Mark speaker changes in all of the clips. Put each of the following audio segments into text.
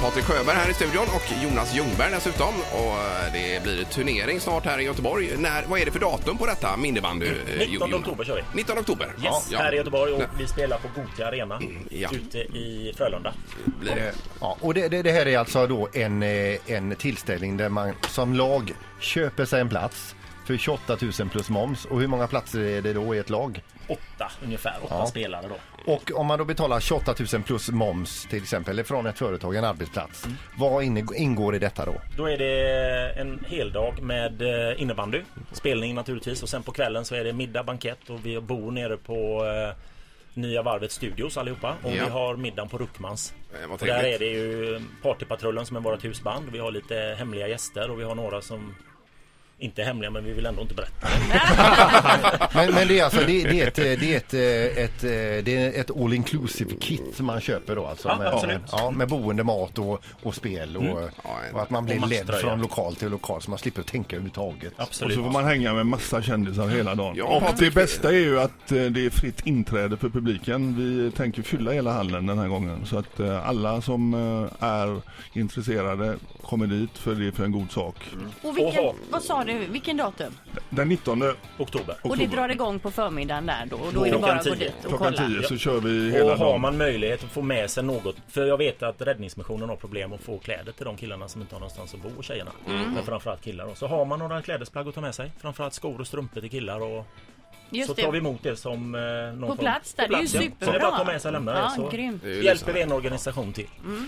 Speaker 1: Patrik Sjöberg här i studion och Jonas Ljungberg dessutom. Och eh, det blir turnering snart här i Göteborg. När, vad är det för datum på detta minibandy? eh,
Speaker 2: 19
Speaker 1: Jonas?
Speaker 2: oktober kör vi.
Speaker 1: 19 oktober?
Speaker 2: Yes,
Speaker 1: Ja, ja.
Speaker 2: här i Göteborg och
Speaker 1: Nej, Mm,
Speaker 2: vi spelar på Gothia Arena
Speaker 1: Ja.
Speaker 2: ute i Frölunda.
Speaker 1: blir det.
Speaker 3: Ja, och det, det, det här är alltså då en, eh, en tillställning där man som lag köper sig en plats för 28 000 plus moms. Och hur många platser är det då i ett lag?
Speaker 2: Åtta ungefär, åtta spelare då.
Speaker 3: Och om man då betalar 28 000 plus moms till exempel, eller från ett företag, en arbetsplats. Vad inne- ingår i detta då?
Speaker 2: Då är det en hel dag med eh, innebandy, spelning naturligtvis och sen på kvällen så är det middag, bankett och vi bor nere på eh, Nya Varvets studios allihopa och
Speaker 1: Ja.
Speaker 2: vi har middagen på Ruckmans.
Speaker 1: Eh, vad
Speaker 2: Och där
Speaker 1: trevligt.
Speaker 2: är det ju Partypatrullen som är vårt husband. Vi har lite hemliga gäster och vi har några som inte är hemliga men vi vill ändå inte berätta.
Speaker 3: Men, men det är alltså det, det är ett, det är ett, eh, ett, eh, det är ett all inclusive kit som man köper då alltså.
Speaker 2: Ja,
Speaker 3: med,
Speaker 2: absolut. Mm.
Speaker 3: ja, med boende, mat och, och spel och,
Speaker 1: Ja, en-
Speaker 3: och att man blir
Speaker 2: Och
Speaker 3: ledd
Speaker 2: matchtröja.
Speaker 3: från lokal till lokal så man slipper tänka överhuvudtaget.
Speaker 4: Och
Speaker 2: Absolut.
Speaker 4: så får man hänga med massa kändisar hela dagen.
Speaker 1: Ja,
Speaker 4: och
Speaker 1: Patrik.
Speaker 4: det bästa är ju att eh, det är fritt inträde för publiken. Vi tänker fylla hela hallen den här gången. Så att eh, alla som eh, är intresserade kommer dit för det är för en god sak.
Speaker 2: Mm.
Speaker 5: Och vilken,
Speaker 2: Oho.
Speaker 5: vad sa du, vilken datum?
Speaker 4: Den 19
Speaker 2: Oktober.
Speaker 5: Och det drar igång på förmiddagen där då och då är det
Speaker 2: Klockan
Speaker 5: bara att gå
Speaker 2: 10.
Speaker 5: dit och
Speaker 4: klockan
Speaker 5: kolla.
Speaker 4: 10 så kör vi hela
Speaker 2: Och har
Speaker 4: dagen.
Speaker 2: man möjlighet att få med sig något. För jag vet att Räddningsmissionen har problem att få kläder till de killarna som inte har någonstans att bo och tjejerna.
Speaker 5: Mm.
Speaker 2: Men framförallt killar då. Så har man några klädesplagg att ta med sig. Framförallt skor och strumpor till killar. Och så
Speaker 5: Just
Speaker 2: tar vi
Speaker 5: det.
Speaker 2: emot det som eh, någon
Speaker 5: På
Speaker 2: form-
Speaker 5: plats där,
Speaker 2: På
Speaker 5: det är ju
Speaker 2: plats, ja. Så det är bara att ta med sig och lämna
Speaker 5: superbra.
Speaker 2: det.
Speaker 5: Ja,
Speaker 2: Så
Speaker 5: grymt. Mm.
Speaker 1: Det är ju
Speaker 2: hjälper vi
Speaker 1: lysande.
Speaker 2: en organisation till.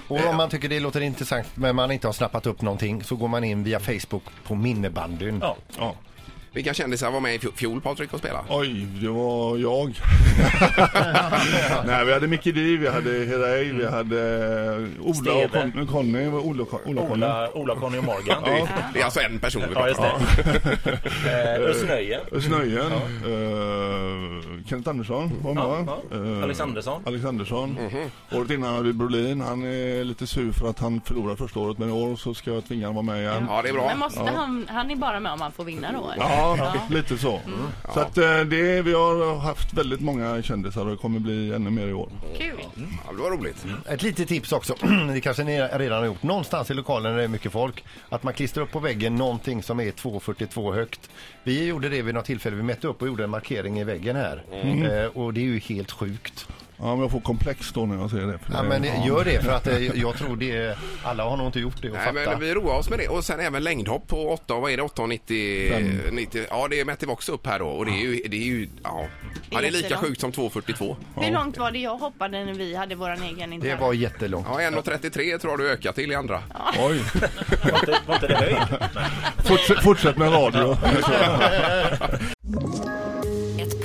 Speaker 3: Och om man tycker det låter intressant men man inte har snappat upp någonting så går man in via Facebook på minnebandyn.
Speaker 2: Ja.
Speaker 4: Ja.
Speaker 1: Vilka kändisar var med i fjo- fjol Patrik och spelade?
Speaker 4: Oj, det var jag. Nej, vi hade Micke Di, vi hade Herrey, vi hade eh, Ola och
Speaker 2: Mm. Steve.
Speaker 4: Con- Conny. Ola, och Con- Ola, och Conny.
Speaker 2: Ola, Ola Conny och Morgan.
Speaker 1: Det, är- det är alltså en person vi
Speaker 2: Ja,
Speaker 1: pratar
Speaker 2: just
Speaker 1: om.
Speaker 2: det. Eh, Özz Nöjen.
Speaker 4: Snöjen, eh, Kenneth Andersson var med.
Speaker 2: Ja, ja.
Speaker 4: Eh,
Speaker 2: Alexandersson.
Speaker 4: Alexandersson.
Speaker 3: Mhm.
Speaker 4: Året innan hade vi Brolin. Han är lite sur för att han förlorade första året men i år så ska jag tvinga honom vara med igen.
Speaker 1: Ja, det är
Speaker 5: Men
Speaker 1: bra.
Speaker 5: måste han, han är bara med om han får vinna då eller?
Speaker 4: Ja, lite så.
Speaker 3: Mm.
Speaker 4: Så att eh, det, vi har haft väldigt många kändisar och det kommer bli ännu mer i år.
Speaker 5: Kul!
Speaker 1: Ja, det var roligt.
Speaker 2: Mm,
Speaker 3: Ett litet tips också, det kanske ni redan har gjort, någonstans i lokalen när det är mycket folk, att man klistrar upp på väggen någonting som är 2,42 högt. Vi gjorde det vid något tillfälle, vi mätte upp och gjorde en markering i väggen här. Eh, och det är ju helt sjukt.
Speaker 4: Ja, men jag får komplex då när jag ser det. för
Speaker 3: Ja,
Speaker 4: det-
Speaker 3: men gör det för att eh, jag tror det, är- alla har nog inte gjort det och
Speaker 1: Nej, men
Speaker 3: fattat.
Speaker 1: vi roar oss med det. Och sen även längdhopp på 8, vad är det, 8,90? 90, ja, det mätte vi också upp här då. Och det är ju, det är ju ja. ja, det är lika sjukt som 2,42.
Speaker 5: Hur långt var det jag hoppade när vi hade våran egen
Speaker 3: Det
Speaker 5: intervju?
Speaker 3: var jättelångt.
Speaker 1: Ja, 1,33 tror jag du ökar till i andra.
Speaker 4: Oj,
Speaker 2: Var inte- Var inte det höjd? Nej.
Speaker 4: fortsätt, fortsätt med radio.
Speaker 6: Ett